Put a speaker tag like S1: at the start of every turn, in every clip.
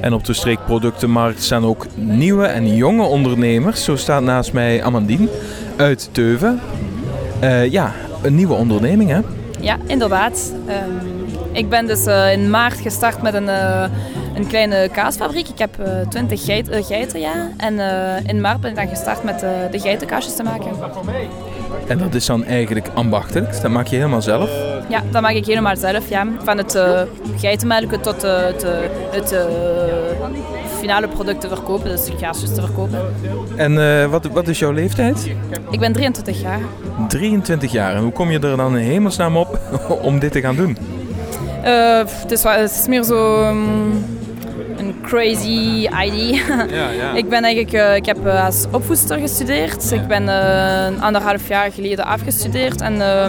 S1: En op de streekproductenmarkt staan ook nieuwe en jonge ondernemers. Zo staat naast mij Amandine uit Teuven. Eh, ja, een nieuwe onderneming hè?
S2: Ja, inderdaad. Ehm, ik ben dus eh, in maart gestart met een, eh, een kleine kaasfabriek. Ik heb eh 20 geit, eh, geiten, ja. En eh, in maart ben ik dan gestart met eh, de geitenkaasjes te maken.
S1: En dat is dan eigenlijk ambachtelijk. Dat maak je helemaal zelf.
S2: Ja, dat maak ik helemaal zelf, ja. Van het eh geitenmelken tot eh, het, eh, het eh, finale product te verkopen, dus de kaasjes te verkopen.
S1: En eh, wat, wat is jouw leeftijd?
S2: Ik ben 23 jaar.
S1: 23 jaar. En hoe kom je er dan in hemelsnaam op om dit te gaan doen?
S2: Eh, pff, het, is, wel- het is meer zo mm, een crazy idee.
S1: Ja, ja.
S2: Ik ben eigenlijk, eh, ik heb eh, als opvoedster gestudeerd. Ik ben eh, een anderhalf jaar geleden afgestudeerd en eh,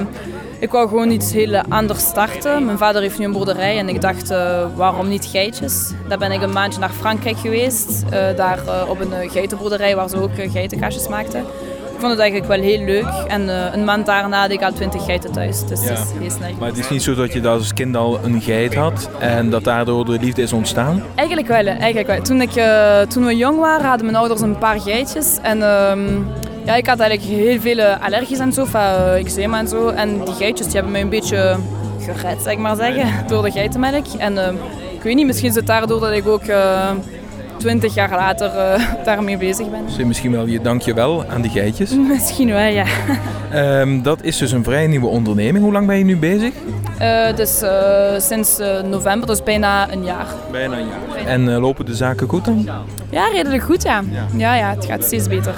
S2: ik wou gewoon iets heel anders starten. Mijn vader heeft nu een boerderij en ik dacht, eh, waarom niet geitjes? Daar ben ik een maandje naar Frankrijk geweest, eh, daar eh, op een eh, geitenboerderij waar ze ook eh, geitenkaasjes maakten. Ik vond het eigenlijk wel heel leuk en eh, een maand daarna had ik al twintig geiten thuis, dus
S1: Ja.
S2: dat is heel snel.
S1: Maar het is niet zo dat je daar als kind al een geit had en dat daardoor de liefde is ontstaan.
S2: Eigenlijk wel, hè. eigenlijk wel. Toen, ik, eh, toen we jong waren hadden mijn ouders een paar geitjes. En ehm, ja, ik had eigenlijk heel veel eh, allergies en zo, van eh, eczema en zo. En die geitjes die hebben mij een beetje gered, zeg maar zeggen, door de geitenmelk. En ehm, ik weet niet, misschien is het daardoor dat ik ook eh, twintig jaar later eh, daarmee bezig ben.
S1: Dus misschien wel je dankjewel aan die geitjes.
S2: Mm. Misschien wel, ja.
S1: Ehm, dat is dus een vrij nieuwe onderneming. Hoe lang ben je nu bezig?
S2: Eh, dus eh, sinds eh, november, dus bijna een jaar.
S1: Bijna een jaar. En eh, lopen de zaken goed dan?
S2: Ja, redelijk goed, ja. Ja, ja, het gaat steeds beter.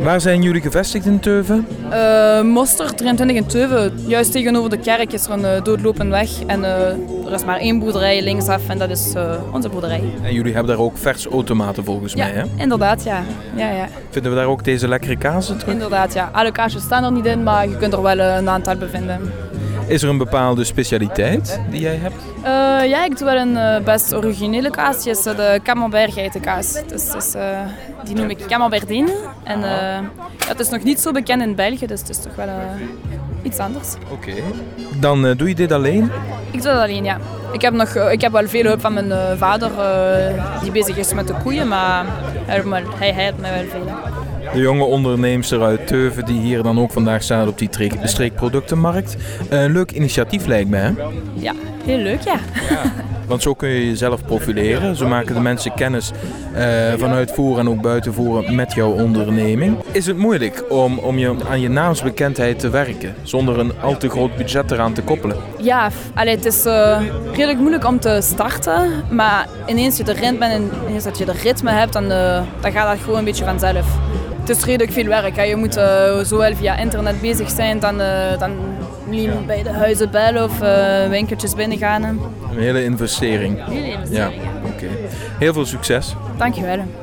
S1: Waar zijn jullie gevestigd in Teuven?
S2: Eh Moster 23 in Teuven. Juist tegenover de kerk is er een eh, doodlopende weg. En eh, er is maar één boerderij linksaf en dat is eh, onze boerderij.
S1: En jullie hebben daar ook vers automaten volgens
S2: Ja,
S1: mij. Hè?
S2: inderdaad, ja. ja, ja.
S1: Vinden we daar ook deze lekkere kazen terug?
S2: Inderdaad, ja. Alle kaasjes staan er niet in, maar je kunt er wel eh, een aantal bevinden.
S1: Is er een bepaalde specialiteit die jij hebt?
S2: Eh, ja, ik doe wel een eh, best originele kaas. Die is eh, de camembert geitenkaas. Dus, dat is, eh, die noem ik camembertine. En eh, ja, het is nog niet zo bekend in België, dus het is toch wel eh, iets anders.
S1: Oké. Dan eh, doe je dit alleen?
S2: Ik doe dat alleen, ja. Ik heb, nog, eh, ik heb wel veel hulp van mijn eh, vader, eh, die bezig is met de koeien, maar hij, maar hij helpt mij wel veel.
S1: De jonge onderneemster uit Teuven die hier dan ook vandaag staat op die trek- streekproductenmarkt. Een leuk initiatief lijkt mij. Hè?
S2: Ja, heel leuk, ja.
S1: Want zo kun je jezelf profileren. Zo maken de mensen kennis eh, vanuit voeren en ook buiten voeren met jouw onderneming. Is het moeilijk om, om je, aan je naamsbekendheid te werken zonder een al te groot budget eraan te koppelen?
S2: Ja, f- allee, het is eh, redelijk moeilijk om te starten, maar ineens je erin bent en ineens dat je de ritme hebt, dan, eh, dan gaat dat gewoon een beetje vanzelf. Het is redelijk veel werk. Hè. Je moet eh, zowel via internet bezig zijn, dan, eh dan liever bij de huizen bellen of eh, winkeltjes binnengaan.
S1: Een hele investering.
S2: Heel
S1: Ja, oké. Heel veel succes.
S2: Dankjewel.